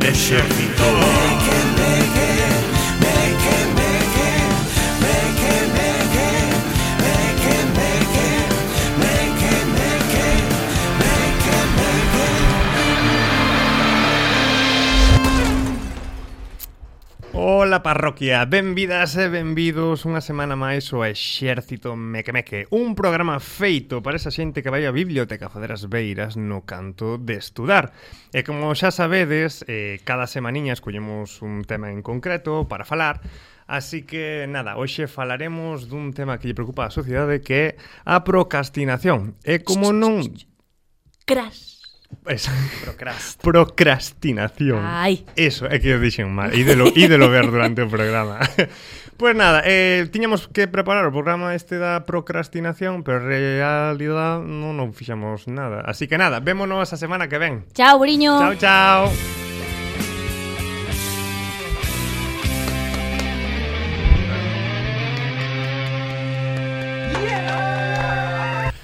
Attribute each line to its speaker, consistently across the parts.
Speaker 1: ejército. Ola parroquia, benvidas e benvidos unha semana máis ao Exército Mequemeque Un programa feito para esa xente que vai á biblioteca fazer as beiras no canto de estudar E como xa sabedes, eh, cada semaniña escollemos un tema en concreto para falar Así que, nada, hoxe falaremos dun tema que lle preocupa a sociedade que é a procrastinación E como non...
Speaker 2: Crash.
Speaker 1: Es... Procrastinación.
Speaker 2: Ai.
Speaker 1: Eso, é que eu dixen mal. Ídelo, ídelo ver durante o programa. Pois pues nada, eh, tiñamos que preparar o programa este da procrastinación, pero en realidad non, non fixamos nada. Así que nada, vémonos a semana que ven.
Speaker 2: Chao, Briño.
Speaker 1: Chao, chao.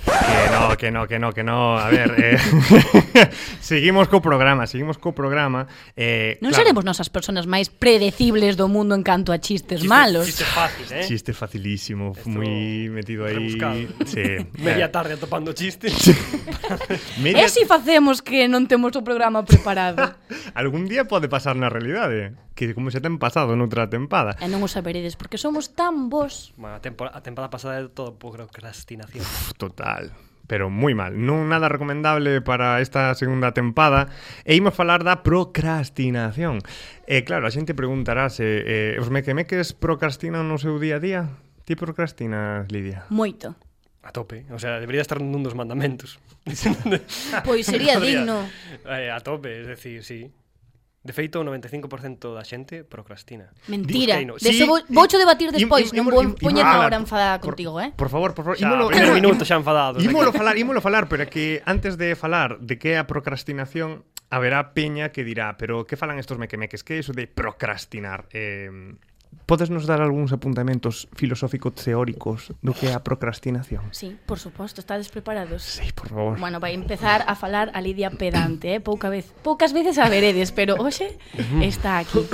Speaker 1: Que no, que no, que no, que no. A ver, eh, seguimos co programa, seguimos co programa. Eh,
Speaker 2: Non
Speaker 1: claro,
Speaker 2: seremos nosas persoas máis predecibles do mundo en canto a chistes
Speaker 3: Chiste-
Speaker 2: malos.
Speaker 3: Chiste fácil, eh?
Speaker 1: Chiste facilísimo,
Speaker 3: Esto
Speaker 1: moi metido aí.
Speaker 3: rebuscado.
Speaker 1: Sí. eh,
Speaker 3: Media tarde atopando chistes.
Speaker 2: E
Speaker 1: Media...
Speaker 2: si facemos que non temos o programa preparado?
Speaker 1: Algún día pode pasar na realidade, que como se ten pasado noutra tempada.
Speaker 2: e non o saberedes porque somos tan vos.
Speaker 3: bueno, a, temporada, a temporada pasada é todo por procrastinación.
Speaker 1: Pff, Total pero moi mal. Non nada recomendable para esta segunda tempada. E imos falar da procrastinación. E claro, a xente preguntarase, eh, os mequemeques procrastinan no seu día a día? Ti procrastinas, Lidia?
Speaker 2: Moito.
Speaker 3: A tope. O sea, debería estar nun dos mandamentos.
Speaker 2: Pois sería
Speaker 3: Podría-
Speaker 2: digno.
Speaker 3: Eh, a tope, es decir, sí. De feito, o 95% da xente procrastina.
Speaker 2: Mentira.
Speaker 3: Busqueino.
Speaker 2: De
Speaker 1: Sí,
Speaker 2: eso vou, voucho debatir
Speaker 1: im-
Speaker 2: despois,
Speaker 1: im-
Speaker 2: non
Speaker 1: im-
Speaker 2: vou
Speaker 1: im-
Speaker 2: poñerme
Speaker 1: imala.
Speaker 2: agora enfadada
Speaker 1: Por-
Speaker 2: contigo, eh?
Speaker 1: Por favor, por favor.
Speaker 3: Xa,
Speaker 1: Ímolo-
Speaker 3: primeiro
Speaker 1: ímolo-
Speaker 3: minuto
Speaker 1: im-
Speaker 3: xa enfadados aquí.
Speaker 1: Ímolo falar, ímolo falar, pero é que antes de falar de que é a procrastinación, haberá peña que dirá, pero que falan estos mequemeques? Que é iso de procrastinar? Eh, podes nos dar algúns apuntamentos filosófico-teóricos do que é a procrastinación?
Speaker 2: Sí, por suposto, estades preparados.
Speaker 1: Sí, por favor.
Speaker 2: Bueno, vai empezar a falar a Lidia pedante, eh? pouca vez. Poucas veces a veredes, pero hoxe está aquí.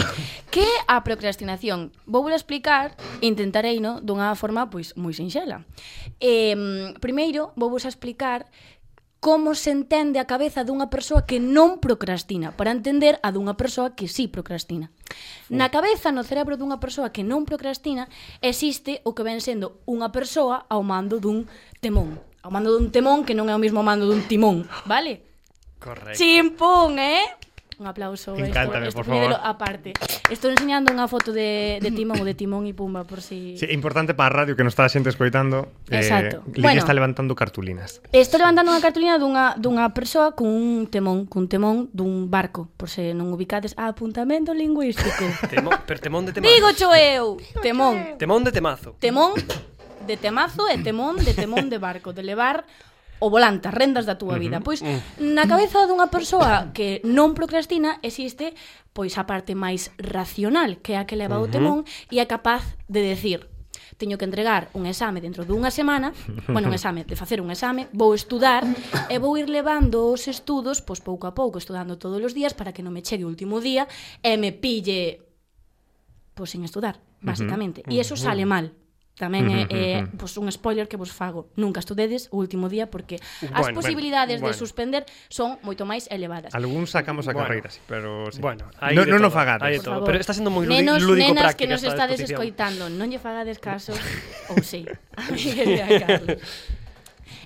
Speaker 2: Que é a procrastinación? Vou vos explicar, intentarei no, dunha forma pois moi sinxela. Eh, primeiro, vou vos explicar como se entende a cabeza dunha persoa que non procrastina, para entender a dunha persoa que sí procrastina. Na cabeza, no cerebro dunha persoa que non procrastina, existe o que ven sendo unha persoa ao mando dun temón. Ao mando dun temón que non é o mesmo ao mando dun timón, vale?
Speaker 3: Correcto.
Speaker 2: Chimpún, eh? Un aplauso. esto-
Speaker 1: Encántame,
Speaker 2: esto
Speaker 1: por
Speaker 2: poñedelo
Speaker 1: favor.
Speaker 2: Aparte. Estou enseñando unha foto de, de timón ou de timón e pumba por si...
Speaker 1: Sí, é importante para a radio que nos está a xente escoitando.
Speaker 2: Exacto.
Speaker 1: Eh, Lidia
Speaker 2: Bueno.
Speaker 1: está levantando cartulinas.
Speaker 2: Estou levantando unha cartulina dunha, dunha persoa con un temón, cun temón dun barco, por se non ubicades a apuntamento lingüístico.
Speaker 3: Temón, pero temón de temazo.
Speaker 2: Digo cho eu, temón.
Speaker 3: Temón de temazo.
Speaker 2: Temón de temazo e temón de temón de barco, de levar o volante, as rendas da túa vida. Pois na cabeza dunha persoa que non procrastina existe pois a parte máis racional, que é a que leva o temón e é capaz de decir teño que entregar un exame dentro dunha semana, bueno, un exame, de facer un exame, vou estudar e vou ir levando os estudos, pois pouco a pouco, estudando todos os días para que non me chegue o último día e me pille pois sen estudar, basicamente. E iso sale mal. Tamén é, é pois un spoiler que vos fago. Nunca estudedes o último día porque as
Speaker 3: Bueno,
Speaker 2: posibilidades de
Speaker 3: bueno, bueno.
Speaker 2: suspender son moito máis elevadas.
Speaker 1: Algúns sacamos a
Speaker 3: Bueno.
Speaker 1: carreira, sí, pero... Sí.
Speaker 3: Bueno, aí
Speaker 1: non no,
Speaker 3: de
Speaker 1: no
Speaker 3: todo,
Speaker 1: fagades.
Speaker 2: Por
Speaker 3: aí de todo.
Speaker 2: favor.
Speaker 3: pero está sendo moi lúdico-
Speaker 2: Nenos,
Speaker 3: lúdico
Speaker 2: nenas que
Speaker 3: práctica
Speaker 2: nos
Speaker 3: esta
Speaker 2: estades
Speaker 3: exposición.
Speaker 2: escoitando, non lle fagades caso, ou si. A Miguel e a Carlos.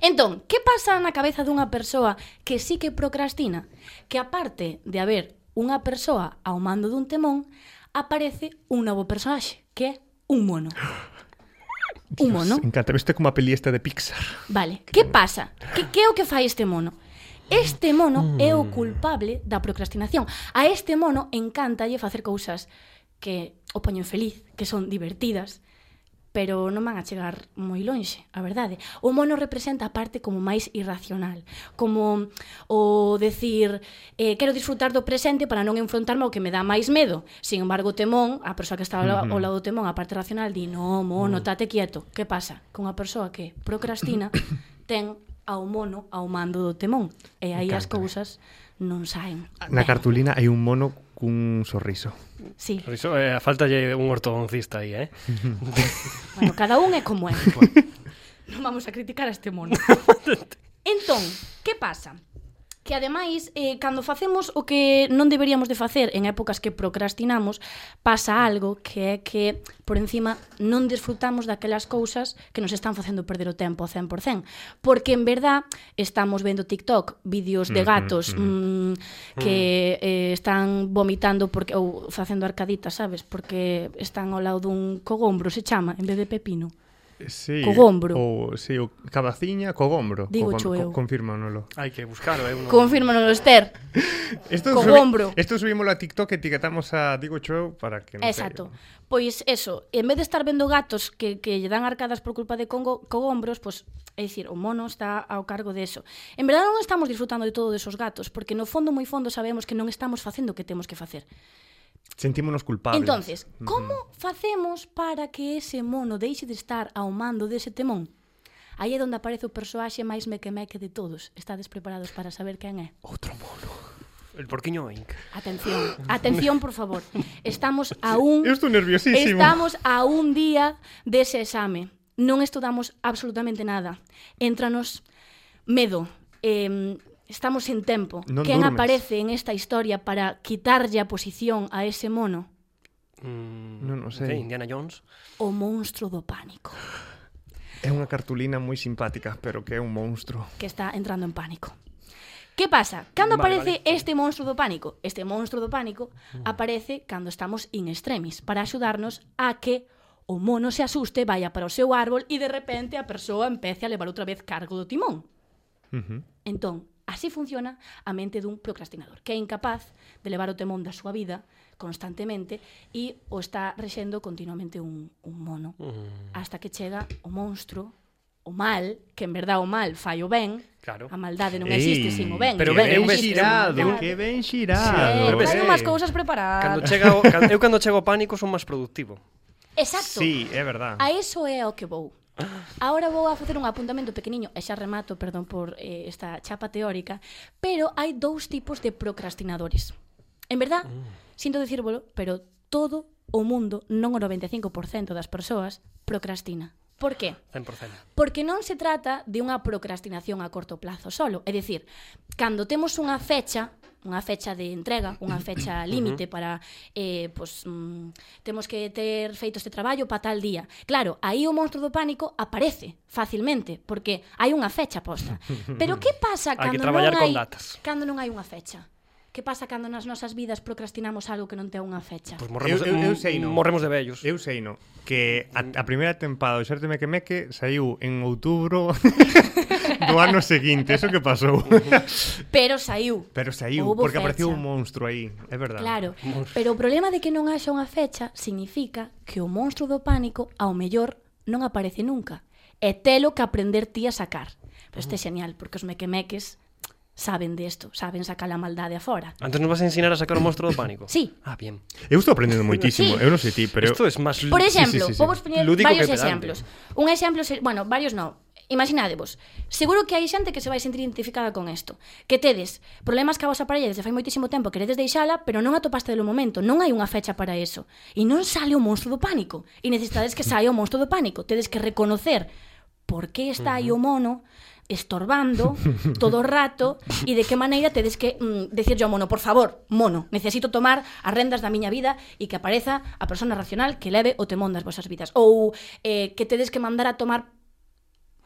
Speaker 2: Entón, que pasa na cabeza dunha persoa que sí que procrastina? Que aparte de haber unha persoa ao mando dun temón, aparece un novo personaxe, que é un mono. Un mono.
Speaker 1: Encanta, viste como a peli esta de Pixar.
Speaker 2: Vale, que pasa? Que que é o que fai este mono? Este mono é o culpable da procrastinación. A este mono encántalle facer cousas que o poñen feliz, que son divertidas, pero non van a chegar moi lonxe, a verdade. O mono representa a parte como máis irracional, como o decir, eh, quero disfrutar do presente para non enfrontarme ao que me dá máis medo. Sin embargo, o temón, a persoa que está ao, la- ao lado do temón, a parte racional, di, no, mono, tate quieto. Que pasa? Con a persoa que procrastina, ten ao mono ao mando do temón. E aí as
Speaker 1: Encántame.
Speaker 2: cousas non saen.
Speaker 1: Na
Speaker 2: ben.
Speaker 1: cartulina hai un mono cun sorriso.
Speaker 2: Sí.
Speaker 3: Riso, eh, falta lle un ortodoncista aí, eh?
Speaker 2: Bueno, cada un é como é. non vamos a criticar a este mono. entón, que pasa? Que ademais, eh, cando facemos o que non deberíamos de facer en épocas que procrastinamos, pasa algo que é que, por encima, non desfrutamos daquelas cousas que nos están facendo perder o tempo ao 100%. Porque, en verdad, estamos vendo TikTok, vídeos
Speaker 1: Ujú,
Speaker 2: de gatos
Speaker 1: ujú.
Speaker 2: mm, que eh, están vomitando porque ou facendo arcaditas, sabes? Porque están ao lado dun cogombro, se chama, en vez de pepino.
Speaker 1: Eh, Sí,
Speaker 2: Cogombro.
Speaker 1: O, sí, o cabaciña, cogombro.
Speaker 2: Digo cho eu.
Speaker 1: Confírmanolo.
Speaker 3: Hai que buscalo, eh? uno-
Speaker 2: Confírmanos, Esther.
Speaker 1: Esto
Speaker 2: Cogombro.
Speaker 1: subi- esto subimos a TikTok, etiquetamos a Digo Choeu para que... non
Speaker 2: Exacto.
Speaker 1: te-
Speaker 2: Pois eso, en vez de estar vendo gatos que, que lle dan arcadas por culpa de congo, cogombros, pois, é dicir, o mono está ao cargo de eso. En verdade non estamos disfrutando de todo desos gatos, porque no fondo moi fondo sabemos que non estamos facendo o que temos que facer.
Speaker 1: Sentímonos culpables.
Speaker 2: Entonces, como facemos para que ese mono deixe de estar ao mando dese temón? Aí é onde aparece o persoaxe máis mequemeque de todos. Estades preparados para saber quen é?
Speaker 1: Outro mono.
Speaker 3: El porquiño Inc.
Speaker 2: Atención, atención, por favor. Estamos a un
Speaker 1: Eu estou nerviosísimo.
Speaker 2: Estamos a un día dese exame. Non estudamos absolutamente nada. Entranos medo. Eh, estamos en tempo.
Speaker 1: Non
Speaker 2: Quen
Speaker 1: durmes.
Speaker 2: aparece en esta historia para quitarlle a posición a ese mono?
Speaker 3: Mm,
Speaker 1: Non o sei.
Speaker 3: non Indiana Jones.
Speaker 2: O monstro do pánico,
Speaker 1: É unha cartulina moi simpática, pero que é un monstro.
Speaker 2: que está entrando en pánico. Que pasa? Cando
Speaker 3: Vale,
Speaker 2: aparece
Speaker 3: vale. Mm.
Speaker 2: este monstro do pánico? Este monstro do pánico aparece cando estamos in extremis para axudarnos a que o mono se asuste, vaya para o seu árbol e de repente a persoa empece a levar outra vez cargo do timón.
Speaker 1: Ujú.
Speaker 2: Entón, así funciona a mente dun procrastinador, que é incapaz de levar o temón da súa vida constantemente e o está rexendo continuamente un, un mono
Speaker 3: Mm,
Speaker 2: hasta que chega o monstro, o mal, que en verdad o mal fai o ben,
Speaker 3: claro.
Speaker 2: a maldade non
Speaker 1: Ei,
Speaker 2: existe sin o ben.
Speaker 3: pero
Speaker 1: que
Speaker 3: ben,
Speaker 1: ben
Speaker 3: eu ves-
Speaker 1: xirado,
Speaker 2: eu-
Speaker 1: que ben
Speaker 2: Eh,
Speaker 1: xirado.
Speaker 2: traen
Speaker 1: eh.
Speaker 2: unhas cousas preparadas.
Speaker 3: Cando chega o, can- eu cando chego ao pánico son máis productivo.
Speaker 2: Exacto.
Speaker 1: Sí, é verdad.
Speaker 2: A eso é ao que vou. Ahora vou a facer un apuntamento pequeniño e xa remato, perdón por eh, esta chapa teórica, pero hai dous tipos de procrastinadores. En verdad, sinto dicírvolo, pero todo o mundo, non o 95% das persoas, procrastina. Por que?
Speaker 3: 100%.
Speaker 2: Porque non se trata de unha procrastinación a corto plazo solo. É dicir, cando temos unha fecha, unha fecha de entrega, unha fecha límite para, eh, pois, mm, temos que ter feito este traballo para tal día. Claro, aí o monstro do pánico aparece facilmente, porque hai unha fecha posta. Pero que pasa
Speaker 3: Hai que
Speaker 2: cando
Speaker 3: traballar
Speaker 2: non
Speaker 3: con
Speaker 2: hai,
Speaker 3: datas.
Speaker 2: cando non hai unha fecha? Que pasa cando nas nosas vidas procrastinamos algo que non ten unha fecha?
Speaker 3: Pois morremos,
Speaker 1: Eu- eu- eu
Speaker 3: mm,
Speaker 1: sei, non.
Speaker 3: morremos de vellos.
Speaker 1: Eu sei, no, que a, a primeira tempada do Xerte Meque Meque saiu en outubro do ano seguinte, eso que pasou.
Speaker 2: Pero saiu.
Speaker 1: Pero saiu,
Speaker 2: Houbo
Speaker 1: porque apareceu
Speaker 2: fecha.
Speaker 1: un monstro aí, é verdade.
Speaker 2: Claro, pero o problema de que non haxa unha fecha significa que o monstro do pánico, ao mellor, non aparece nunca. E telo que aprender ti a sacar. Pero este é genial, porque os mequemeques saben desto, saben sacar a maldade afora.
Speaker 3: Antes nos vas a ensinar a sacar o monstro do pánico.
Speaker 2: Sí.
Speaker 3: Ah, bien.
Speaker 1: Eu estou aprendendo moitísimo,
Speaker 2: Sí.
Speaker 1: eu non sei ti, pero...
Speaker 3: Esto es más...
Speaker 2: Por
Speaker 3: lu-
Speaker 2: exemplo,
Speaker 1: sí, sí, sí.
Speaker 2: vou vos poñer
Speaker 3: Lúdico
Speaker 2: varios
Speaker 3: que pedante.
Speaker 2: exemplos. Un exemplo, se- bueno, varios non. Imaginadevos, seguro que hai xente que se vai sentir identificada con isto Que tedes problemas que a vosa parella desde fai moitísimo tempo Queredes deixala, pero non atopaste do momento Non hai unha fecha para eso E non sale o monstro do pánico E necesitades que saia o monstro do pánico Tedes que reconocer por que está aí o mono estorbando todo o rato e de que maneira tedes que mm, decirlle ao mono, por favor, mono, necesito tomar as rendas da miña vida e que apareza a persona racional que leve o temón das vosas vidas ou eh, que tedes que mandar a tomar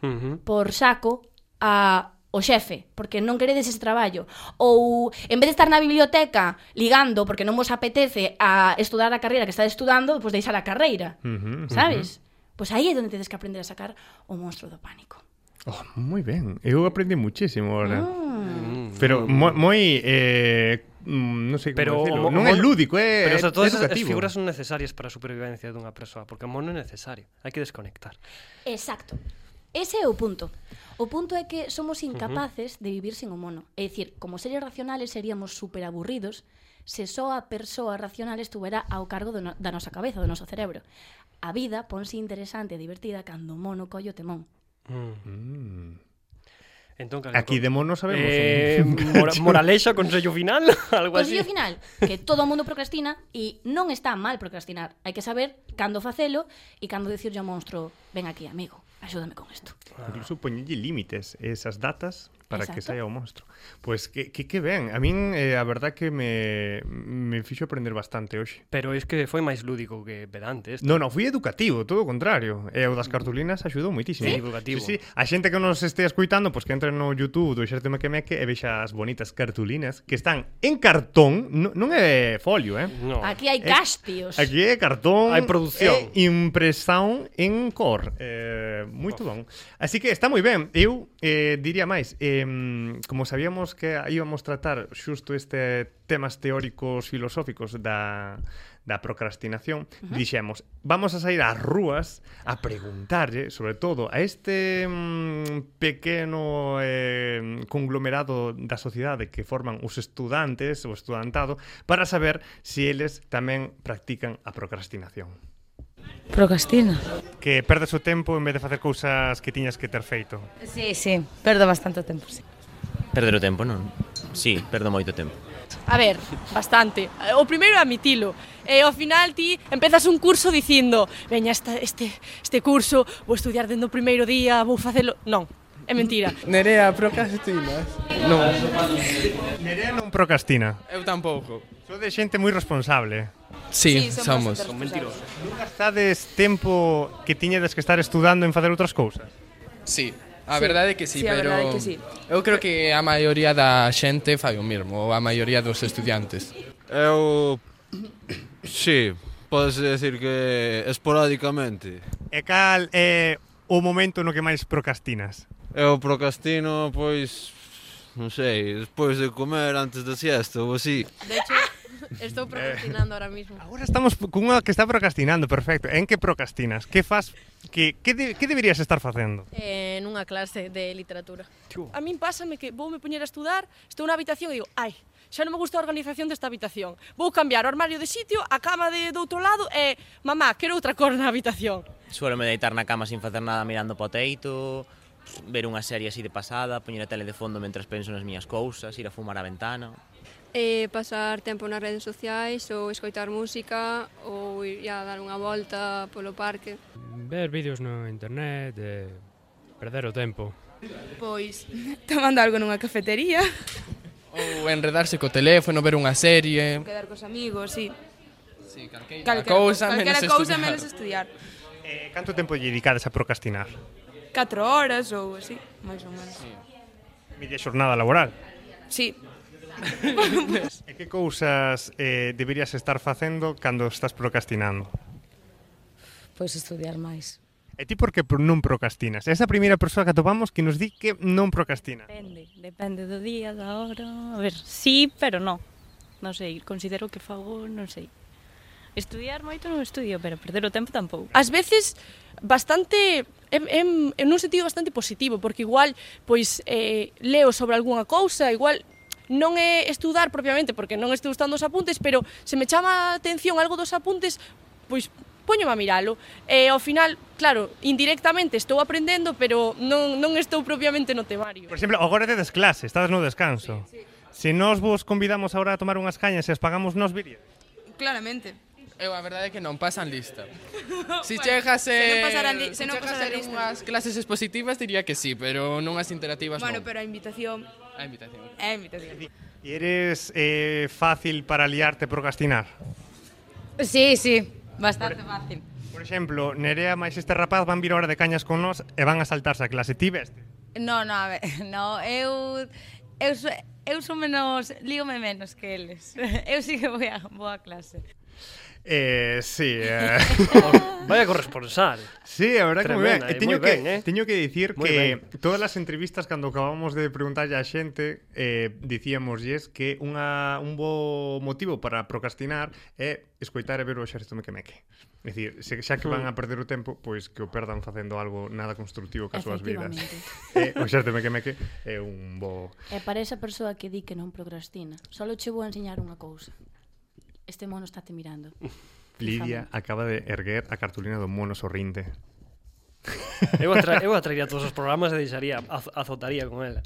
Speaker 3: Ujú.
Speaker 2: por saco a o xefe, porque non queredes ese traballo ou en vez de estar na biblioteca ligando porque non vos apetece a estudar a carreira que está estudando, pois deixar a carreira,
Speaker 1: Ujú, ujú.
Speaker 2: sabes? Pois aí é onde tedes que aprender a sacar o monstro do pánico.
Speaker 1: Oh, moi ben, eu aprendi muchísimo ahora.
Speaker 2: Mm.
Speaker 1: Pero mo- moi... Eh, mm, non sei como
Speaker 3: Pero
Speaker 1: decirlo.
Speaker 3: o mo-
Speaker 1: non
Speaker 3: o
Speaker 1: é
Speaker 3: mono-
Speaker 1: lúdico, é,
Speaker 3: Eh, Pero o sea, todas
Speaker 1: é
Speaker 3: esas
Speaker 1: educativo.
Speaker 3: figuras son necesarias para a supervivencia dunha persoa, porque o mono é necesario, hai que desconectar.
Speaker 2: Exacto. Ese é o punto. O punto é que somos incapaces de vivir sen o mono. É dicir, como seres racionales seríamos super aburridos se só a persoa racional estuvera ao cargo do no, da nosa cabeza, do noso cerebro. A vida ponse interesante e divertida cando o mono colle o temón.
Speaker 1: Mm.
Speaker 3: Mm. Entón, cal-
Speaker 1: Aquí de mono sabemos.
Speaker 3: Eh, mora, moralexa, consello final, algo así.
Speaker 2: Consello Pois, final, que todo o mundo procrastina e non está mal procrastinar. Hai que saber cando facelo e cando dicirlle ao monstro, ven aquí, amigo, axúdame con isto.
Speaker 3: Ah.
Speaker 1: Incluso poñelle límites e esas datas para Exacto. que
Speaker 2: Exacto.
Speaker 1: saia o monstro. Pois que, que, que ben, a min eh, a verdad que me, me fixo aprender bastante hoxe.
Speaker 3: Pero es que foi máis lúdico que pedante. Este.
Speaker 1: Non, non, fui educativo, todo o contrario. E o das cartulinas axudou moitísimo.
Speaker 3: Sí? Educativo.
Speaker 1: Sí, sí. A xente que nos estea escuitando, pois pues, que entre no YouTube do Xerte Mequemeque e vexa as bonitas cartulinas que están en cartón, non, non é folio, eh?
Speaker 3: No.
Speaker 2: Aquí hai
Speaker 1: Eh,
Speaker 2: castios.
Speaker 1: Aquí é cartón,
Speaker 3: Hai produción.
Speaker 1: e impresión en cor. Eh, moito bon. Así que está moi ben. Eu eh, diría máis, eh, como sabíamos que íbamos tratar xusto este temas teóricos filosóficos da da procrastinación, uh -huh. dixemos, vamos a sair ás rúas a preguntarlle, sobre todo a este mm, pequeno eh, conglomerado da sociedade que forman os estudantes, o estudantado, para saber se eles tamén practican a procrastinación.
Speaker 4: Procrastina.
Speaker 1: Que perdes o tempo en vez de facer cousas que tiñas que ter feito.
Speaker 4: Sí, sí, perdo bastante o tempo, sí.
Speaker 5: Perder o tempo, non? Sí, perdo moito tempo.
Speaker 6: A ver, bastante. O primeiro é admitilo. E ao final ti empezas un curso dicindo Veña, esta, este, este curso vou estudiar dentro do primeiro día, vou facelo... Non, é mentira.
Speaker 7: Nerea, procrastinas?
Speaker 1: Nerea non procrastina.
Speaker 7: Eu tampouco.
Speaker 1: Sou de xente moi responsable.
Speaker 7: Sí, sí somos.
Speaker 3: Son mentirosos.
Speaker 1: Gastades tempo que tiñedes que estar estudando en facer outras cousas.
Speaker 7: Sí, a verdade é que sí,
Speaker 8: sí, a
Speaker 7: pero
Speaker 8: verdade é que sí.
Speaker 7: eu creo que a maioría da xente fai o mesmo, ou a maioría dos estudiantes.
Speaker 9: Eu... Sí, podes decir que esporádicamente.
Speaker 1: E cal é o momento no que máis procrastinas?
Speaker 9: Eu procrastino, pois... Non sei, despois de comer antes da siesta ou así.
Speaker 8: De hecho, estou procrastinando ahora mismo.
Speaker 1: Agora estamos cunha que está procrastinando, perfecto. En que procrastinas? Que fas? Que, que, de, que deberías estar facendo?
Speaker 8: Eh, nunha clase de literatura.
Speaker 6: A min pásame que vou me poñer a estudar, estou na habitación e digo, ai, xa non me gusta a organización desta habitación. Vou cambiar o armario de sitio, a cama de do outro lado e, mamá, quero outra cor na habitación.
Speaker 10: Suelo me deitar na cama sin facer nada mirando po teito, ver unha serie así de pasada, poñer a tele de fondo mentras penso nas miñas cousas, ir a fumar a ventana.
Speaker 8: Eh, pasar tempo nas redes sociais ou escoitar música ou ir a dar unha volta polo parque.
Speaker 11: Ver vídeos no internet, eh, perder o tempo.
Speaker 6: Pois, tomando algo nunha cafetería.
Speaker 7: Ou enredarse co teléfono, ver unha serie...
Speaker 6: Quedar cos amigos, sí.
Speaker 7: Sí, calqueira cousa, menos estudiar.
Speaker 6: estudiar.
Speaker 1: Eh, canto tempo lle dedicades a procrastinar?
Speaker 6: 4 horas ou así, máis ou menos.
Speaker 1: Media xornada laboral.
Speaker 6: Sí.
Speaker 1: E que cousas eh, deberías estar facendo cando estás procrastinando?
Speaker 4: Pois estudiar máis.
Speaker 1: E ti por que pro- non procrastinas? Esa primeira persoa que atopamos que nos di que non procrastina.
Speaker 12: Depende, depende do día, da hora. A ver, sí, pero no. Non sei, considero que fago, non sei. Estudiar moito non estudio, pero perder o tempo tampouco.
Speaker 6: Ás veces bastante en, en, en un sentido bastante positivo, porque igual pois eh, leo sobre algunha cousa, igual non é estudar propiamente porque non estou estudando os apuntes, pero se me chama a atención algo dos apuntes, pois poñome a miralo. E ao final, claro, indirectamente estou aprendendo, pero non, non estou propiamente no temario.
Speaker 1: Por exemplo, agora tedes clase, estades no descanso. Sí, sí. Se nos vos convidamos agora a tomar unhas cañas e as pagamos nos viría.
Speaker 6: Claramente.
Speaker 7: Eu a verdade é que non pasan lista. Si chegas eh, se non
Speaker 6: pasaran li- se non pasaran lista.
Speaker 7: unhas clases expositivas diría que sí, pero non as interactivas non.
Speaker 6: a invitación
Speaker 7: A invitación.
Speaker 6: é invitación.
Speaker 1: E eres eh, fácil para liarte procrastinar.
Speaker 4: Sí, sí, bastante fácil.
Speaker 1: Por exemplo, Nerea máis este rapaz van vir hora de cañas con nós e van a saltarse a clase. Ti veste?
Speaker 4: No, no, a ver, no, eu eu sou, eu sou menos, líome menos que eles. Eu sí que vou a boa clase.
Speaker 1: Eh, sí, eh...
Speaker 3: Vaya corresponsal.
Speaker 1: Sí, a verdad que moi ben. E
Speaker 3: Tremenda, eh,
Speaker 1: teño
Speaker 3: moi
Speaker 1: que
Speaker 3: ben, eh.
Speaker 1: teño que dicir
Speaker 3: Moi
Speaker 1: que
Speaker 3: ben.
Speaker 1: todas as entrevistas cando acabamos de preguntarlle á xente, eh dicíamos yes que unha un bo motivo para procrastinar é escoitar e ver o exército mequemeque. É dicir, se xa que van a perder o tempo, pois que o perdan facendo algo nada construtivo que as súas vidas.
Speaker 2: Efectivamente.
Speaker 1: Eh, o exército mequemeque é un bo
Speaker 2: E para esa persoa que di que non procrastina, só che vou enseñar unha cousa. Este mono está te mirando.
Speaker 1: Lidia acaba de erguer a cartulina do mono sorrinte.
Speaker 3: Eu, atra eu atraía todos os programas e deixaría, az azotaría con ela.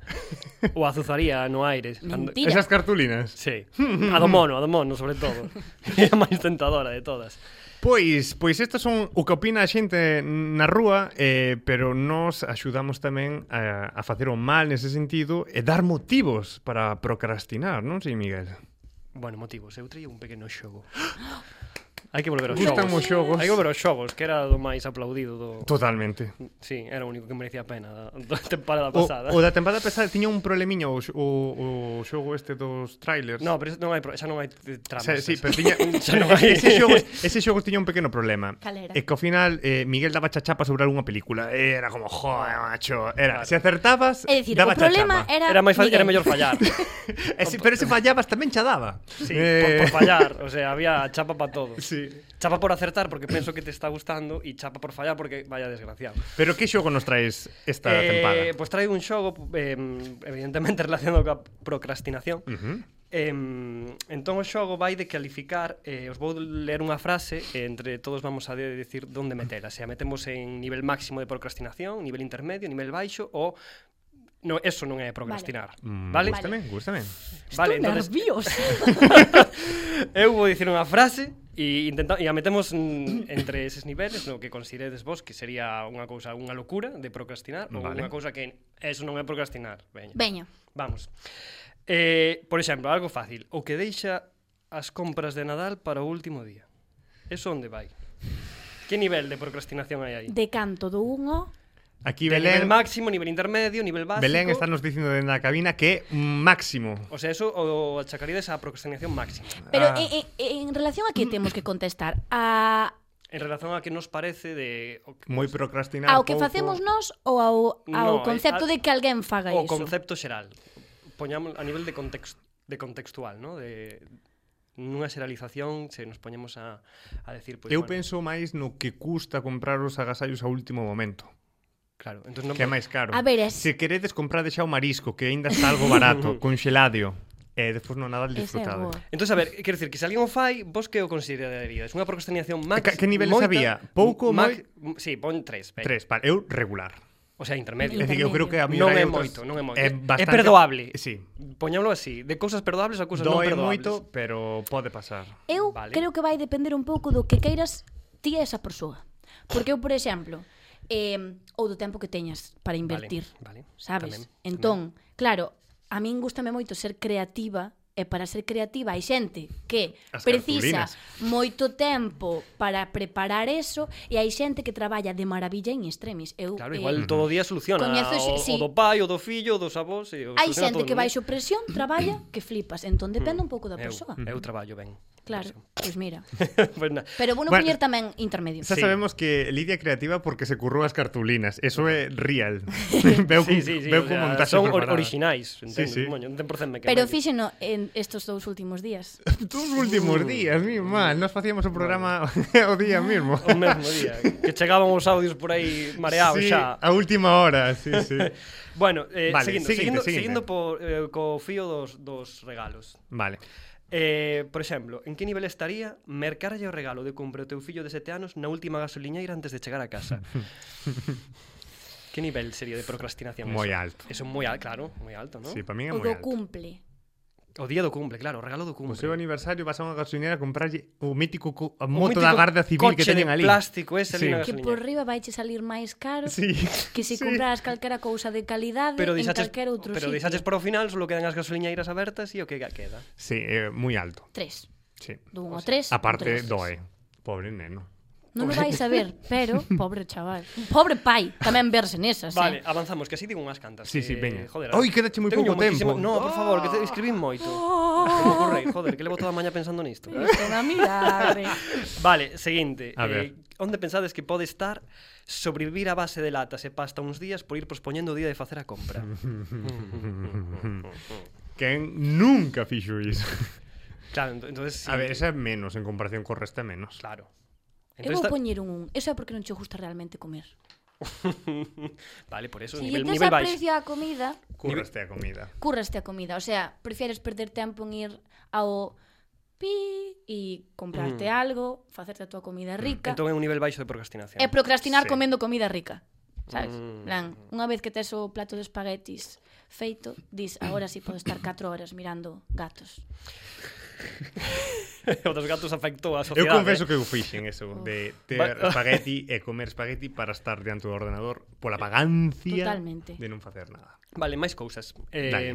Speaker 3: Ou azuzaría no aire.
Speaker 1: Mm.
Speaker 3: cando-
Speaker 1: Mentira. Esas cartulinas?
Speaker 3: Sí. A do mono, a do mono, sobre todo. É a máis tentadora de todas.
Speaker 1: Pois, pois estas son o que opina a xente na rúa, eh, pero nos axudamos tamén a, a facer o mal nese sentido e dar motivos para procrastinar, non sei, Miguel?
Speaker 3: Bueno, motivos. Eu traía un pequeno xogo. Hai que volver aos xogos.
Speaker 1: Gustan os xogos.
Speaker 3: Hai que volver aos xogos, que era do máis aplaudido do...
Speaker 1: Totalmente.
Speaker 3: Sí, era o único que merecía a pena da, da temporada
Speaker 1: O,
Speaker 3: pasada.
Speaker 1: o da temporada pasada tiña un problemiño o, xo- o, o xogo este dos trailers.
Speaker 3: No, pero non hai, pro- xa non hai eh, tramas.
Speaker 1: Xa, sí, pero tiña,
Speaker 3: xa non hai...
Speaker 1: ese, xogo, ese xogo tiña un pequeno problema.
Speaker 3: Cal era?
Speaker 1: E que ao final eh, Miguel daba chachapa sobre algunha película. E Era como, joder, macho. Era, se acertabas,
Speaker 2: É dicir,
Speaker 1: daba
Speaker 2: o problema
Speaker 1: chachapa.
Speaker 2: era Era máis fa- Miguel. era
Speaker 3: mellor fallar.
Speaker 1: Ese, Eh, pero se fallabas tamén xa daba.
Speaker 3: Sí,
Speaker 1: Eh.
Speaker 3: por, por fallar. O sea, había chapa para todo.
Speaker 1: Sí.
Speaker 3: Chapa por acertar porque penso que te está gustando e chapa por fallar porque vaya desgraciado.
Speaker 1: Pero que xogo nos traes esta
Speaker 3: eh,
Speaker 1: tempada?
Speaker 3: Pois traigo un xogo eh, evidentemente relacionado coa procrastinación.
Speaker 1: Ujú.
Speaker 3: Eh, entón o xogo vai de calificar eh, Os vou ler unha frase e Entre todos vamos a de decir donde metela Se a metemos en nivel máximo de procrastinación Nivel intermedio, nivel baixo Ou no, eso non é procrastinar
Speaker 1: Mm,
Speaker 3: Vale?
Speaker 1: Gústame, gústame.
Speaker 3: Vale,
Speaker 2: Estou
Speaker 3: entonces-
Speaker 2: nerviosa.
Speaker 3: Eu vou dicir unha frase e intenta e a metemos mm, entre eses niveles no que consideredes vos que sería unha cousa, unha locura de procrastinar ou
Speaker 1: Vale.
Speaker 3: unha cousa que eso non é procrastinar. Veña.
Speaker 2: Veña.
Speaker 3: Vamos. Eh, por exemplo, algo fácil, o que deixa as compras de Nadal para o último día. Eso onde vai? Que nivel de procrastinación hai aí?
Speaker 2: De canto do uno...
Speaker 1: Aquí
Speaker 3: De
Speaker 1: Belén,
Speaker 3: nivel máximo, nivel intermedio, nivel básico.
Speaker 1: Belén está nos dicindo dende a cabina que máximo.
Speaker 3: O sea, eso o achacaríades á procrastinación máxima.
Speaker 2: Pero
Speaker 1: Ah.
Speaker 2: en, en, en relación a que temos que contestar? A,
Speaker 3: En relación a que nos parece de o
Speaker 1: Moi procrastinar
Speaker 2: ao Ah, que
Speaker 1: pouco.
Speaker 2: facemos nós ou ao, ao
Speaker 3: No,
Speaker 2: concepto
Speaker 3: a-
Speaker 2: de que alguén faga iso?
Speaker 3: o concepto xeral. Poñamos a nivel de context, de contextual, ¿no? De nunha xeralización se nos poñemos a, a decir pois,
Speaker 1: Eu
Speaker 3: bueno,
Speaker 1: penso máis no que custa comprar os agasallos ao último momento.
Speaker 3: Claro, entón non
Speaker 1: que é
Speaker 3: po-
Speaker 1: máis caro.
Speaker 2: A ver, es-
Speaker 1: se queredes comprade xa o marisco, que aínda está algo barato, conxeladio, e despois no Nadal
Speaker 2: Ese é
Speaker 1: disfrutade.
Speaker 2: boa.
Speaker 3: Entón, a ver, quero dicir que se alguén o fai, vos que o consideraríades? Unha procrastinación máxima?
Speaker 1: Ca- que niveles había? Pouco,
Speaker 3: moi? Sí, pon tres. Veña.
Speaker 1: Tres, vale, eu regular.
Speaker 3: O sea, intermedio.
Speaker 1: É dicir, eu creo que a
Speaker 3: non
Speaker 1: mellor hai
Speaker 3: é
Speaker 1: outras-
Speaker 3: moito, non é moito.
Speaker 1: É
Speaker 3: É,
Speaker 1: bastante-
Speaker 3: perdoable.
Speaker 1: Sí.
Speaker 3: Poñámoslo así, de cousas perdoables a cousas
Speaker 1: Doe
Speaker 3: non perdoables.
Speaker 1: moito, pero pode pasar.
Speaker 2: Eu vale.
Speaker 3: Vale.
Speaker 2: creo que vai depender un pouco do que queiras ti a esa persoa. Porque eu, por exemplo, eh, ou do tempo que teñas para invertir.
Speaker 3: Vale, vale.
Speaker 2: Sabes?
Speaker 3: Tamén,
Speaker 2: entón, claro, a min gustame moito ser creativa e para ser creativa hai xente que
Speaker 13: As
Speaker 2: precisa
Speaker 13: cartulinas.
Speaker 2: moito tempo para preparar eso e hai xente que traballa de maravilla en extremis. Eu,
Speaker 3: Claro,
Speaker 2: eh,
Speaker 1: Mm.
Speaker 3: igual todo o día soluciona
Speaker 2: coñezo
Speaker 3: o,
Speaker 2: xe- sí.
Speaker 3: o do pai, o do fillo, o dos avós e o
Speaker 2: Hai
Speaker 3: soluciona
Speaker 2: xente
Speaker 3: todo,
Speaker 2: que
Speaker 3: non é?
Speaker 2: baixo presión traballa que flipas. Entón depende un pouco da persoa.
Speaker 3: Eu, Mm. eu traballo ben.
Speaker 2: Claro, pois pues mira.
Speaker 3: pues na,
Speaker 2: Pero bueno,
Speaker 1: Bueno,
Speaker 2: poñer tamén intermedio.
Speaker 1: Xa sabemos que Lidia é creativa porque se currou as cartulinas. Eso é real. veu
Speaker 3: Sí, sí, sí,
Speaker 1: veu
Speaker 3: o
Speaker 1: con
Speaker 3: sea,
Speaker 1: montaxe
Speaker 3: son or-
Speaker 1: preparada.
Speaker 3: orixinais, entendes?
Speaker 1: Sí, sí.
Speaker 3: Moño, non ten por cento mecánico.
Speaker 2: Pero fíxeno en estos dous últimos días.
Speaker 1: Dos últimos días, mi mal. Nos facíamos o programa o día mismo.
Speaker 3: O mesmo día, que chegaban os audios por aí mareados
Speaker 1: sí,
Speaker 3: xa.
Speaker 1: a última hora, sí, sí.
Speaker 3: Bueno, eh,
Speaker 1: Vale, seguinte,
Speaker 3: seguindo, seguindo,
Speaker 1: seguinte.
Speaker 3: seguindo por, eh, co fío dos, dos regalos.
Speaker 1: Vale.
Speaker 3: Eh, por exemplo, en que nivel estaría mercarlle o regalo de cumpre ao teu fillo de sete anos na última gasoliñeira antes de chegar a casa? que nivel sería de procrastinación?
Speaker 1: Moi
Speaker 3: eso?
Speaker 1: alto.
Speaker 3: Eso moi alto, claro, moi alto, ¿no?
Speaker 1: Sí, pa min é
Speaker 2: O
Speaker 1: moi alto.
Speaker 2: do cumple.
Speaker 3: O día do cumple, claro, o regalo do
Speaker 1: O
Speaker 3: cumple.
Speaker 1: seu aniversario vas Pois a unha gasolinera a comprarlle o mítico co- a
Speaker 3: O
Speaker 1: moto
Speaker 3: mítico
Speaker 1: da Guardia Civil que
Speaker 3: coche
Speaker 1: teñen
Speaker 3: de
Speaker 1: ali.
Speaker 3: plástico ese ali na
Speaker 2: Que por riba vaiche salir máis caro
Speaker 1: Sí.
Speaker 2: que se
Speaker 1: Sí.
Speaker 2: compraras calquera cousa de calidade
Speaker 3: Pero
Speaker 2: en
Speaker 3: deixaches,
Speaker 2: calquera outro
Speaker 3: pero
Speaker 2: sitio.
Speaker 3: deixaches para o final, solo quedan as gasoliñeiras abertas e o que queda.
Speaker 1: Sí, eh, moi alto.
Speaker 2: Tres.
Speaker 1: Sí.
Speaker 2: Do un ao tres,
Speaker 1: A parte
Speaker 2: un tres.
Speaker 1: doe. Pobre neno.
Speaker 2: Non o vais a ver, pero pobre chaval. Pobre pai, tamén verse nesas, eh.
Speaker 3: Vale, avanzamos, que así digo unhas cantas.
Speaker 1: Sí, sí,
Speaker 3: que,
Speaker 1: veña.
Speaker 3: Joder,
Speaker 1: Oi, quedache moi
Speaker 3: teño
Speaker 1: pouco tempo.
Speaker 3: moitísimo- No, por favor, que te escribín
Speaker 2: Ah.
Speaker 3: moito. Que me ocurre, joder, que levo toda a maña pensando nisto.
Speaker 2: Isto é unha milagre.
Speaker 3: Vale, seguinte.
Speaker 1: A ver.
Speaker 3: Eh, onde pensades que pode estar sobrevivir a base de latas e pasta uns días por ir pospoñendo o día de facer a compra?
Speaker 1: Quen nunca fixo iso.
Speaker 3: Claro, ento- entonces...
Speaker 1: A ver, esa é menos en comparación co resto é menos.
Speaker 3: Claro.
Speaker 2: Eu vou poñer un un. Eso é porque non che gusta realmente comer.
Speaker 3: vale, por eso,
Speaker 2: Se lle
Speaker 3: nivel,
Speaker 2: tes
Speaker 3: nivel baixo.
Speaker 2: aprecio á comida,
Speaker 1: Curraste a comida.
Speaker 2: curraste a comida. O sea, prefieres perder tempo en ir ao pi e comprarte
Speaker 3: Mm.
Speaker 2: algo, facerte a túa comida rica.
Speaker 3: Entón é un nivel baixo de procrastinación.
Speaker 2: E procrastinar
Speaker 3: Sí.
Speaker 2: comendo comida rica. Sabes? Mm.
Speaker 3: Mm.
Speaker 2: Plan, unha vez que tes o plato de espaguetis feito, dis, agora si sí podo estar 4 horas mirando gatos.
Speaker 3: o dos gatos afectou a
Speaker 1: Eu
Speaker 3: sociedade.
Speaker 1: confeso
Speaker 3: eh.
Speaker 1: que eu fixen eso de ter
Speaker 3: Va-
Speaker 1: espagueti e comer espagueti para estar diante do ordenador pola vagancia
Speaker 2: Totalmente.
Speaker 1: de non facer nada.
Speaker 3: Vale, máis cousas. Eh,
Speaker 1: Dale.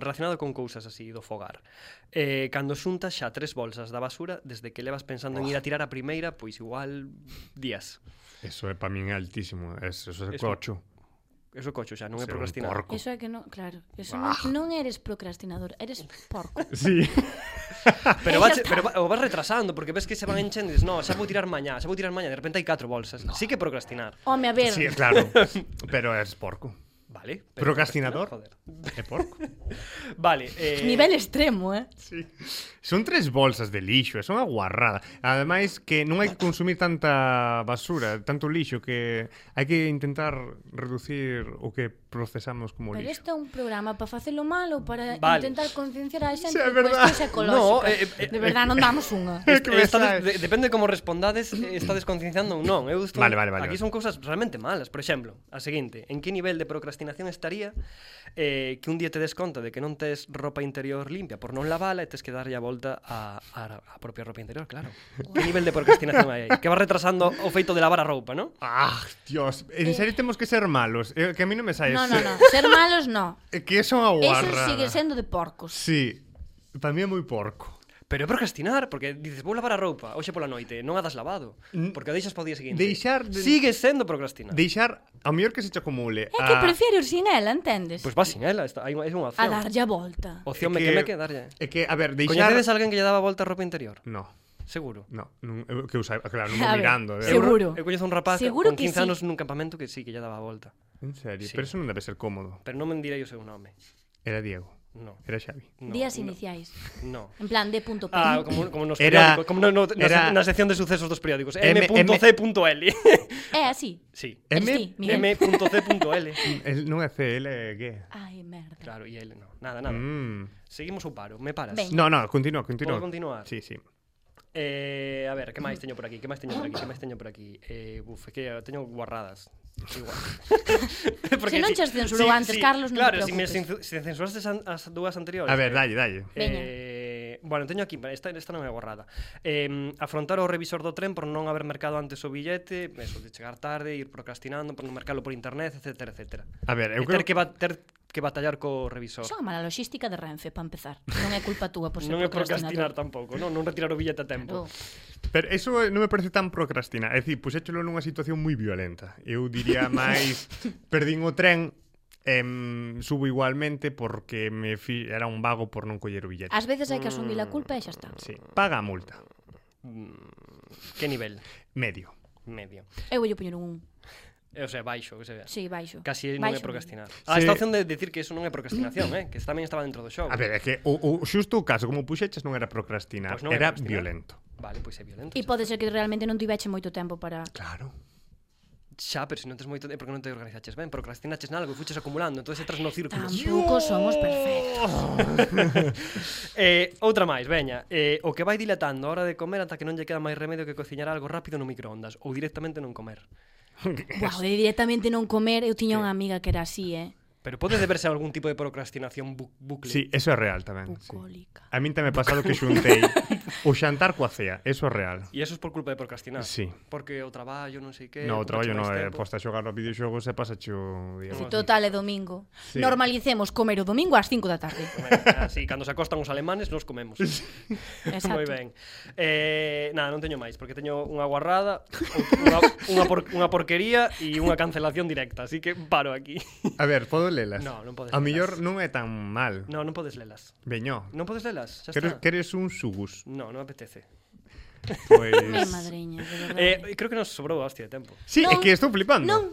Speaker 3: relacionado con cousas así do fogar. Eh, cando xuntas xa tres bolsas da basura, desde que levas pensando en ir a tirar a primeira, pois igual días.
Speaker 1: Eso é para min altísimo, eso, eso é
Speaker 3: Eso-
Speaker 1: cocho.
Speaker 3: Eso é cocho xa, non é
Speaker 1: Ser un
Speaker 3: procrastinar.
Speaker 1: porco.
Speaker 2: Eso é que non, claro, eso
Speaker 1: Bah.
Speaker 2: non, non eres procrastinador, eres porco.
Speaker 1: Sí.
Speaker 2: E
Speaker 3: Pero, vas,
Speaker 2: xa está.
Speaker 3: pero va- o vas retrasando porque ves que se van enchendo e dices, no, xa vou tirar mañá, xa vou tirar mañá, de repente hai catro bolsas. No. Sí que procrastinar.
Speaker 2: Home, a ver.
Speaker 1: Sí, claro, pero es porco.
Speaker 3: Vale. pero
Speaker 1: Procrastinador
Speaker 3: procrastinar,
Speaker 1: é porco.
Speaker 3: joder. Vale, eh,
Speaker 2: Nivel extremo, eh?
Speaker 1: Sí. Son tres bolsas de lixo, é son unha guarrada. Ademais que non hai que consumir tanta basura, tanto lixo que hai que intentar reducir o que procesamos como
Speaker 2: Pero
Speaker 1: lixo.
Speaker 2: isto é un programa para facelo mal ou
Speaker 1: Vale.
Speaker 2: para vale. intentar concienciar a xente
Speaker 1: Sí, é
Speaker 2: de
Speaker 1: verdad.
Speaker 2: cuestións ecolóxicas.
Speaker 3: No, eh, eh,
Speaker 2: de verdade, non damos unha.
Speaker 3: Est- estades, de, depende de como respondades, eh, estades concienciando ou non. Eu estou,
Speaker 1: Vale, vale, vale,
Speaker 3: aquí
Speaker 1: vale.
Speaker 3: son cousas realmente malas. Por exemplo, a seguinte, en que nivel de procrastinación estaría eh, que un día te des conta de que non tes ropa interior limpia por non lavala e tes que darlle a volta a, a, a propia ropa interior, claro. Que nivel de procrastinación hai aí? Que vas retrasando o feito de lavar a roupa, non?
Speaker 1: Ah, Dios, en serio temos que ser malos. Eh, que a mí non me sai
Speaker 2: No,
Speaker 1: eso.
Speaker 2: no, no. Ser malos, no.
Speaker 1: É Que eso é unha
Speaker 2: Eso
Speaker 1: guarrada.
Speaker 2: sigue sendo de porcos.
Speaker 1: Sí, para mí é moi porco.
Speaker 3: Pero é procrastinar, porque dices, vou lavar a roupa hoxe pola noite, non a das lavado, porque a deixas para o día seguinte.
Speaker 1: Deixar de-
Speaker 3: Sigue sendo procrastinar.
Speaker 1: Deixar, ao mellor que se te acumule.
Speaker 2: É que prefiero ir sin ela, entendes?
Speaker 3: Pois pues vas sin ela, está, hai unha, é unha
Speaker 2: a
Speaker 3: opción.
Speaker 2: darlle a volta.
Speaker 1: É
Speaker 3: Opción me
Speaker 1: que-
Speaker 3: que me que darlle.
Speaker 1: É que, a ver, deixar...
Speaker 3: Coñecedes a alguén que lle daba volta a roupa interior?
Speaker 1: No,
Speaker 3: Seguro.
Speaker 1: no, non, eu- que usai, claro, non vou
Speaker 2: A ver,
Speaker 1: mirando. ¿eh? de-
Speaker 2: seguro.
Speaker 3: Eu coñezo un rapaz
Speaker 2: Seguro
Speaker 3: con
Speaker 2: que
Speaker 3: 15
Speaker 2: sí.
Speaker 3: anos nun campamento que sí, que lle daba a volta.
Speaker 1: En serio,
Speaker 3: Sí.
Speaker 1: pero eso non debe ser cómodo.
Speaker 3: Pero non me direi o seu nome.
Speaker 1: Era Diego.
Speaker 3: No.
Speaker 1: Era Xavi.
Speaker 3: No,
Speaker 2: Días
Speaker 3: no.
Speaker 2: iniciais.
Speaker 3: No.
Speaker 2: En plan, de punto P.
Speaker 3: Ah, como, como nos
Speaker 1: Era-
Speaker 3: periódicos, como no, no,
Speaker 1: era-
Speaker 3: na, na sección de sucesos dos periódicos.
Speaker 1: M-
Speaker 3: M.C.L.
Speaker 2: É Eh, así.
Speaker 3: sí.
Speaker 1: M-
Speaker 2: Eres ti, Miguel.
Speaker 3: M.C.L.
Speaker 1: El non é C, L é G.
Speaker 2: Ai, merda.
Speaker 3: Claro, e ele no. Nada, nada.
Speaker 1: Mm.
Speaker 3: Seguimos o paro, me paras.
Speaker 2: Veña.
Speaker 1: No, no, continúa, continúa.
Speaker 3: Podo continuar?
Speaker 1: Sí, sí.
Speaker 3: Eh, a ver, que máis teño por aquí? Que máis teño por aquí? Que máis teño por aquí? Eh, buf, é que teño guarradas. Igual.
Speaker 2: Se non chas censurou antes, Carlos, non te
Speaker 3: Claro, se me
Speaker 2: preocupes.
Speaker 3: censu- se censuraste an- as dúas anteriores.
Speaker 1: A ver,
Speaker 3: eh,
Speaker 1: dalle, dalle.
Speaker 2: Veña.
Speaker 3: Eh, bueno, teño aquí, esta, esta non é guarrada. Eh, afrontar o revisor do tren por non haber mercado antes o billete, eso, de chegar tarde, ir procrastinando, por non mercalo por internet, etc, etc.
Speaker 1: A ver, eu
Speaker 3: E
Speaker 1: creo
Speaker 3: ter que, ba ter que batallar co revisor.
Speaker 2: Só a mala logística de Renfe, para empezar. Non é culpa túa por ser
Speaker 3: non é procrastinar
Speaker 2: procrastinador. Oh.
Speaker 3: tampouco, non, non retirar o billete a tempo.
Speaker 2: Claro.
Speaker 1: Pero eso eh, non me parece tan procrastinar. É dicir, puxéchelo nunha situación moi violenta. Eu diría máis perdín o tren em, subo igualmente porque me fi... era un vago por non coller o billete.
Speaker 2: Ás veces hai que asumir a culpa e xa está.
Speaker 1: Sí. Paga a multa.
Speaker 3: Que nivel?
Speaker 1: Medio.
Speaker 3: Medio.
Speaker 2: Eu voulle poñer un...
Speaker 3: Eh, O sea, baixo, que se vea.
Speaker 2: Sí, baixo.
Speaker 3: Casi non é
Speaker 2: baixo
Speaker 3: procrastinar.
Speaker 2: medio.
Speaker 3: Ah,
Speaker 1: Sí.
Speaker 3: esta opción de decir que eso non é procrastinación, eh? que tamén estaba dentro do xogo.
Speaker 1: A ver, é que o, o xusto o caso como puxeches non era procrastinar,
Speaker 3: Pois non é
Speaker 1: era
Speaker 3: procrastinar.
Speaker 1: violento.
Speaker 3: Vale, pois é violento.
Speaker 2: E pode ser que realmente non tiveche moito tempo para...
Speaker 1: Claro.
Speaker 3: Xa, pero se non tes moito tempo, porque non te organizaches ben, procrastinaches nalgo, e fuches acumulando, entón entras no círculo.
Speaker 2: Tampouco somos perfectos.
Speaker 3: eh, outra máis, veña. Eh, o que vai dilatando a hora de comer ata que non lle queda máis remedio que cociñar algo rápido no microondas ou directamente non comer.
Speaker 2: Buah, de directamente non comer, eu tiña unha amiga que era así, eh?
Speaker 3: Pero pode deberse a algún tipo de procrastinación bu bucle.
Speaker 1: Sí, eso é real tamén. Sí.
Speaker 2: Bucólica.
Speaker 1: A min tamén me pasado que xuntei o xantar coa cea, eso é real.
Speaker 3: E eso é por culpa de procrastinar.
Speaker 1: Sí.
Speaker 3: Porque o traballo, non sei que...
Speaker 1: No, eh, o traballo non é
Speaker 3: é
Speaker 1: posta a xogar aos videoxogos e pasache o día.
Speaker 2: Si
Speaker 1: Sí,
Speaker 2: total é domingo.
Speaker 1: Sí.
Speaker 2: Normalicemos comer o domingo ás 5 da tarde.
Speaker 3: Así, cando se acostan os alemanes, nos comemos.
Speaker 2: Exacto.
Speaker 3: Moi ben. Eh, nada, non teño máis, porque teño unha guarrada, unha, unha, por, unha porquería e unha cancelación directa, así que paro aquí.
Speaker 1: A ver, podo lelas?
Speaker 3: No, non podes
Speaker 1: A
Speaker 3: lelas.
Speaker 1: mellor non é tan mal.
Speaker 3: No, non podes lelas.
Speaker 1: Veño.
Speaker 3: Non podes lelas, xa
Speaker 1: Queres,
Speaker 3: está.
Speaker 1: queres un sugus?
Speaker 3: No, non apetece.
Speaker 1: Pois...
Speaker 2: Ai, madriña, de verdade.
Speaker 3: Eh, creo que nos sobrou a hostia de tempo.
Speaker 1: Sí, é
Speaker 2: Non.
Speaker 1: que estou flipando.
Speaker 2: Non,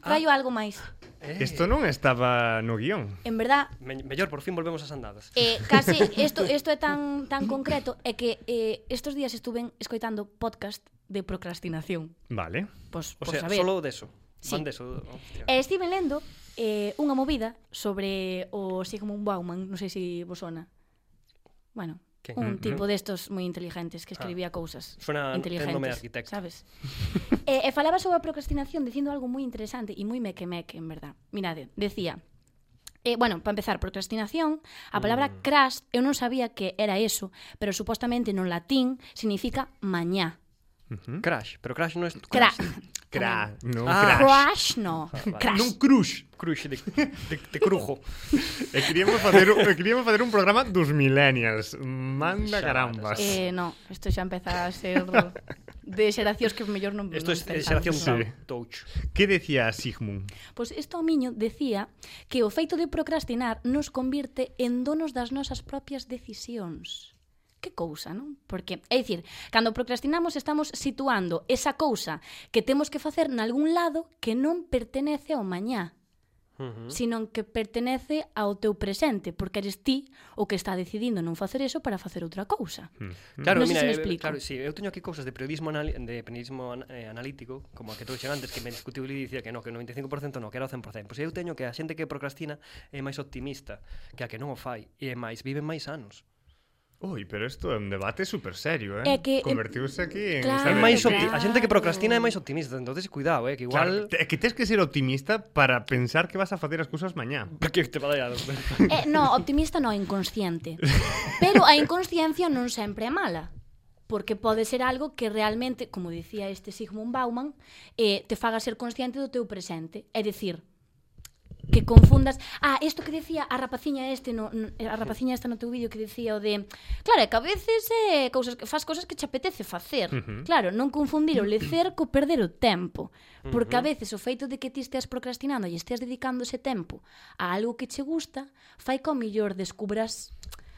Speaker 3: Ah.
Speaker 2: traio algo máis.
Speaker 1: Isto non estaba no guión.
Speaker 2: En verdad,
Speaker 3: Me, mellor, por fin volvemos ás andadas.
Speaker 2: Eh, case isto isto é tan tan concreto é que eh, estos días estuven escoitando podcast de procrastinación.
Speaker 1: Vale.
Speaker 2: Pois
Speaker 3: O
Speaker 2: pois
Speaker 3: sea,
Speaker 2: a ver.
Speaker 3: solo deso.
Speaker 2: Sí.
Speaker 3: Van deso. Hostia.
Speaker 2: E estive lendo eh, unha movida sobre o Sigmund Bauman, non sei se vos sona. Bueno,
Speaker 3: Quen?
Speaker 2: un
Speaker 3: Mm,
Speaker 2: tipo
Speaker 3: mm.
Speaker 2: destos moi inteligentes que escribía
Speaker 3: Ah.
Speaker 2: cousas
Speaker 3: Sona téndome
Speaker 2: inteligentes,
Speaker 3: arquitecto.
Speaker 2: sabes? e, e falaba sobre a procrastinación dicindo algo moi interesante e moi meque-meque, en verdad. Mirade, decía, Eh, bueno, para empezar, procrastinación, a palabra
Speaker 3: Mm.
Speaker 2: crash, eu non sabía que era eso, pero supostamente no latín significa mañá.
Speaker 3: Crash, pero Crash Ah, no es tu
Speaker 2: Cra-
Speaker 3: Crash.
Speaker 1: non
Speaker 2: Crash no, crash.
Speaker 3: Non crush. Crush de, de, de crujo.
Speaker 1: E queríamos facer, un- e queríamos facer un programa dos millennials. Manda carambas.
Speaker 2: Eh, no, isto xa empeza a ser de xeracións que mellor non
Speaker 3: Esto
Speaker 2: non
Speaker 3: es
Speaker 2: pensamos.
Speaker 3: xeración touch.
Speaker 1: Que decía Sigmund?
Speaker 2: Pois isto o miño decía que o feito de procrastinar nos convirte en donos das nosas propias decisións. Que cousa, non? Porque, é dicir, cando procrastinamos estamos situando esa cousa que temos que facer nalgún lado que non pertenece ao mañá,
Speaker 3: Mm.
Speaker 2: sino que pertenece ao teu presente, porque eres ti o que está decidindo non facer eso para facer outra cousa.
Speaker 1: Hmm.
Speaker 3: Claro,
Speaker 2: non sei
Speaker 3: mira,
Speaker 2: se me
Speaker 3: eh,
Speaker 2: explico.
Speaker 3: claro, sí, eu teño aquí cousas de periodismo anal- de periodismo an- eh, analítico, como a que trouxen antes que me discutiu e dicía que no, que o 95% no, que era o 100%. Pois eu teño que a xente que procrastina é máis optimista que a que non o fai e é máis viven máis anos.
Speaker 1: Ui, pero isto é un debate super serio, eh?
Speaker 2: É que, eh,
Speaker 1: Convertiuse aquí en...
Speaker 2: claro,
Speaker 1: sabe?
Speaker 3: É máis opti- a xente que procrastina é máis optimista, entonces cuidado, eh, que
Speaker 1: Claro,
Speaker 3: igual
Speaker 1: te- é que tens que ser optimista para pensar que vas a facer as cousas mañá.
Speaker 3: que te va a dar.
Speaker 2: Eh, no, optimista no, inconsciente. Pero a inconsciencia non sempre é mala. Porque pode ser algo que realmente, como dicía este Sigmund Bauman, eh, te faga ser consciente do teu presente. É dicir, que confundas... Ah, isto que decía a rapaciña este no, no- a rapaciña esta no teu vídeo que decía o de... Claro, é que a veces eh, cousas, que- fas cousas que che apetece facer.
Speaker 13: Ujú.
Speaker 2: Claro, non confundir o lecer co perder o tempo. Porque a
Speaker 13: Ujú.
Speaker 2: veces o feito de que ti esteas procrastinando e esteas dedicando ese tempo a algo que che gusta, fai que ao mellor descubras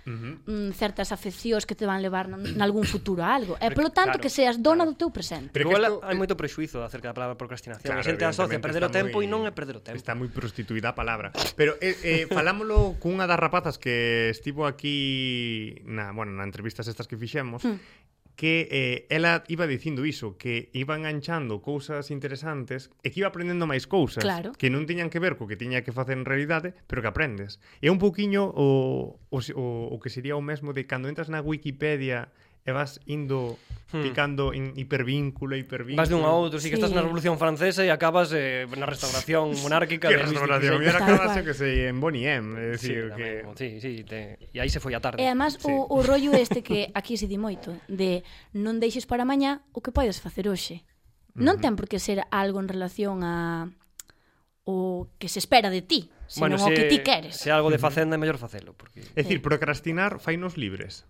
Speaker 2: mm, certas afeccións que te van levar n- nalgún futuro a algo. E polo tanto
Speaker 3: Claro,
Speaker 2: que seas dona do teu presente.
Speaker 3: Pero igual hai moito prexuizo acerca da palabra procrastinación. a xente asocia
Speaker 1: evidentemente,
Speaker 3: perder o
Speaker 1: está
Speaker 3: tempo
Speaker 1: moi-
Speaker 3: e non é perder o tempo.
Speaker 1: Está moi prostituída a palabra. Pero eh, eh, falámolo cunha das rapazas que estivo aquí na, bueno, na entrevistas estas que fixemos,
Speaker 2: Mm.
Speaker 1: que eh, ela iba dicindo iso, que iban enganchando cousas interesantes e que iba aprendendo máis cousas
Speaker 2: Claro.
Speaker 1: que non tiñan que ver co que tiña que facer en realidade, pero que aprendes. É un pouquiño o, o, se- o, o que sería o mesmo de cando entras na Wikipedia e vas indo picando en hipervínculo, hipervínculo.
Speaker 3: Hmm. Vas de un a outro, si sí. que estás na
Speaker 1: Sí.
Speaker 3: Revolución Francesa e acabas eh, na restauración monárquica
Speaker 1: Que
Speaker 3: de Luis
Speaker 1: restauración,
Speaker 3: XVI.
Speaker 1: e acabas, eu que sei, en Bonnie M, é
Speaker 3: Sí,
Speaker 1: dicir, que
Speaker 3: tamén, sí, sí, te... e aí se foi a tarde.
Speaker 2: E Eh, además sí. o, o rollo este que aquí se di moito de non deixes para mañá o que podes facer hoxe. Non ten por que ser algo en relación a o que se espera de ti, senón o que ti queres.
Speaker 3: Se algo de facenda é mellor facelo, porque
Speaker 1: É dicir, procrastinar fainos libres.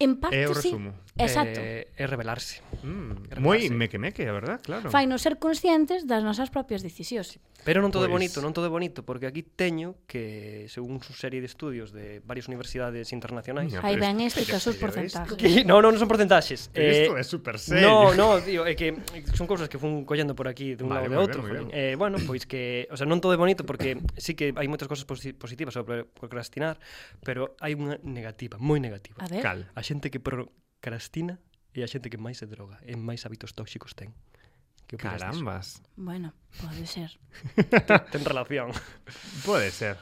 Speaker 2: En parte
Speaker 1: É o
Speaker 2: sí.
Speaker 1: resumo.
Speaker 2: Exacto. Eh...
Speaker 3: é revelarse.
Speaker 1: Mm, moi meque-meque, a verdad, claro.
Speaker 2: Fainos ser conscientes das nosas propias decisións.
Speaker 3: Pero non todo é
Speaker 1: Pois-
Speaker 3: bonito, non todo é bonito, porque aquí teño que, según su serie de estudios de varias universidades internacionais...
Speaker 2: Aí ven este que os porcentajes.
Speaker 3: Que, no, no, non son porcentaxes.
Speaker 1: Pero isto é super serio.
Speaker 3: Eh, No, no, tío, é que son cousas que fun collendo por aquí de un
Speaker 1: Vale,
Speaker 3: vale, lado e
Speaker 1: moi ben,
Speaker 3: outro.
Speaker 1: moi ben.
Speaker 3: jolín. Eh, bueno, pois que, o sea, non todo é bonito porque sí que hai moitas cousas posi- positivas sobre procrastinar, pero hai unha negativa, moi negativa.
Speaker 2: A ver.
Speaker 1: Cal?
Speaker 3: A xente que procrastina e a xente que máis se droga, e máis hábitos tóxicos ten. Que opinas diso?
Speaker 1: Carambas.
Speaker 2: Bueno, pode ser.
Speaker 3: ten relación.
Speaker 1: Pode ser.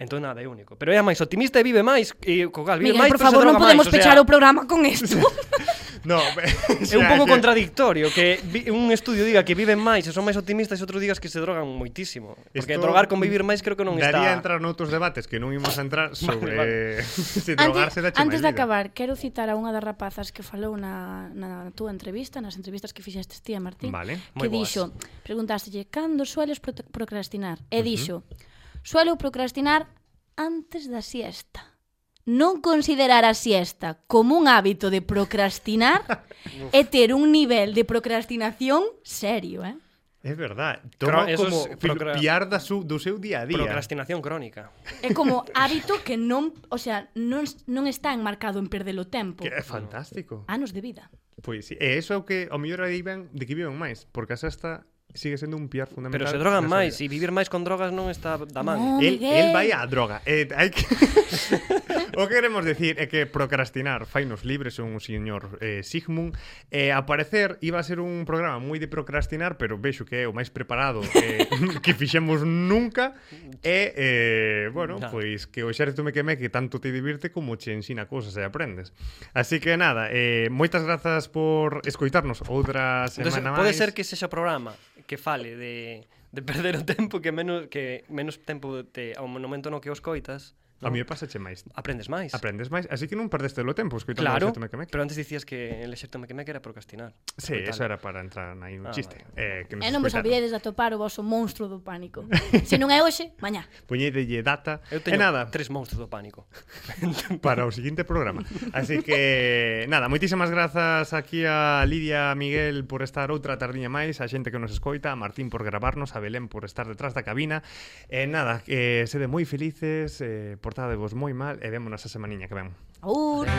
Speaker 3: Entón nada é único, pero é a máis optimista e vive máis e co cal, vive
Speaker 2: Miguel,
Speaker 3: máis,
Speaker 2: por
Speaker 3: pero se
Speaker 2: favor, non
Speaker 3: droga
Speaker 2: podemos
Speaker 3: máis, o sea,
Speaker 2: pechar o programa con isto.
Speaker 1: No,
Speaker 3: É un pouco contradictorio que vi- un estudio diga que viven máis e son máis optimistas e outro digas que se drogan moitísimo.
Speaker 1: Isto
Speaker 3: Porque drogar con vivir máis creo que non
Speaker 1: Daría a
Speaker 3: está...
Speaker 1: entrar noutros debates que non imos a entrar sobre
Speaker 3: vale.
Speaker 1: se drogarse
Speaker 2: antes,
Speaker 1: da
Speaker 2: antes de acabar, quero citar a unha das rapazas que falou na, na túa entrevista, nas entrevistas que fixestes ti a Martín,
Speaker 1: Vale.
Speaker 2: que
Speaker 1: Moi boas.
Speaker 2: dixo, preguntástelle, cando sueles prote- procrastinar? E dixo, suelo procrastinar antes da siesta. Non considerar a siesta como un hábito de procrastinar é ter un nivel de procrastinación serio, eh?
Speaker 1: É verdad, toma
Speaker 3: Cro- eso
Speaker 1: como
Speaker 3: es
Speaker 1: fil-
Speaker 3: procra-
Speaker 1: piar da su, do seu día a día.
Speaker 3: Procrastinación crónica.
Speaker 2: É como hábito que non, o sea, non, non está enmarcado en perder o tempo.
Speaker 1: Que é fantástico.
Speaker 2: Anos de vida.
Speaker 1: Pois sí, e eso é o que ao mellor aí ven de que viven máis, porque a sexta sigue sendo un piar fundamental.
Speaker 3: Pero se drogan
Speaker 1: da súa
Speaker 3: máis
Speaker 1: vida.
Speaker 3: e vivir máis con drogas non está da man.
Speaker 2: Oh,
Speaker 1: No, Ah, El- Miguel. el vai á droga. Eh, hai que... O que queremos decir é que procrastinar fainos libres son un señor eh, Sigmund eh, aparecer iba a ser un programa moi de procrastinar pero vexo que é o máis preparado eh, que fixemos nunca e eh, bueno,
Speaker 13: Nada.
Speaker 1: pois que o xército me queme que tanto te divirte como che ensina cousas e aprendes así que nada, eh, moitas grazas por escoitarnos outra
Speaker 3: Entonces,
Speaker 1: semana
Speaker 3: pode
Speaker 1: máis
Speaker 3: ser que sexa o programa que fale de, de perder o tempo que menos que menos tempo te ao momento no que os coitas.
Speaker 1: A mí me pasa che máis
Speaker 3: Aprendes máis.
Speaker 1: Aprendes máis, así que non perdeste o tempo escoitando o
Speaker 3: Claro,
Speaker 1: xército me queme
Speaker 3: pero antes dicías que el exerto me que era procrastinar.
Speaker 1: Sí,
Speaker 3: Coitalo.
Speaker 1: eso era para entrar aí un
Speaker 3: Ah,
Speaker 1: chiste. Eh,
Speaker 3: vale.
Speaker 1: que nos
Speaker 2: E non vos
Speaker 1: escoitaron.
Speaker 2: olvidedes de atopar o vosso monstro do pánico. Se non é hoxe, mañá.
Speaker 1: Poñédelle data e
Speaker 3: Eu teño
Speaker 1: Eh, nada
Speaker 3: tres monstruos do pánico.
Speaker 1: para o seguinte programa. Así que nada, moitísimas grazas aquí a Lidia Miguel por estar outra tardiña máis, a xente que nos escoita, a Martín por gravarnos, a Belén por estar detrás da cabina. E nada, eh, que sede moi felices, eh, portadevos moi mal e vémonos a semaniña que ven.
Speaker 2: Aur.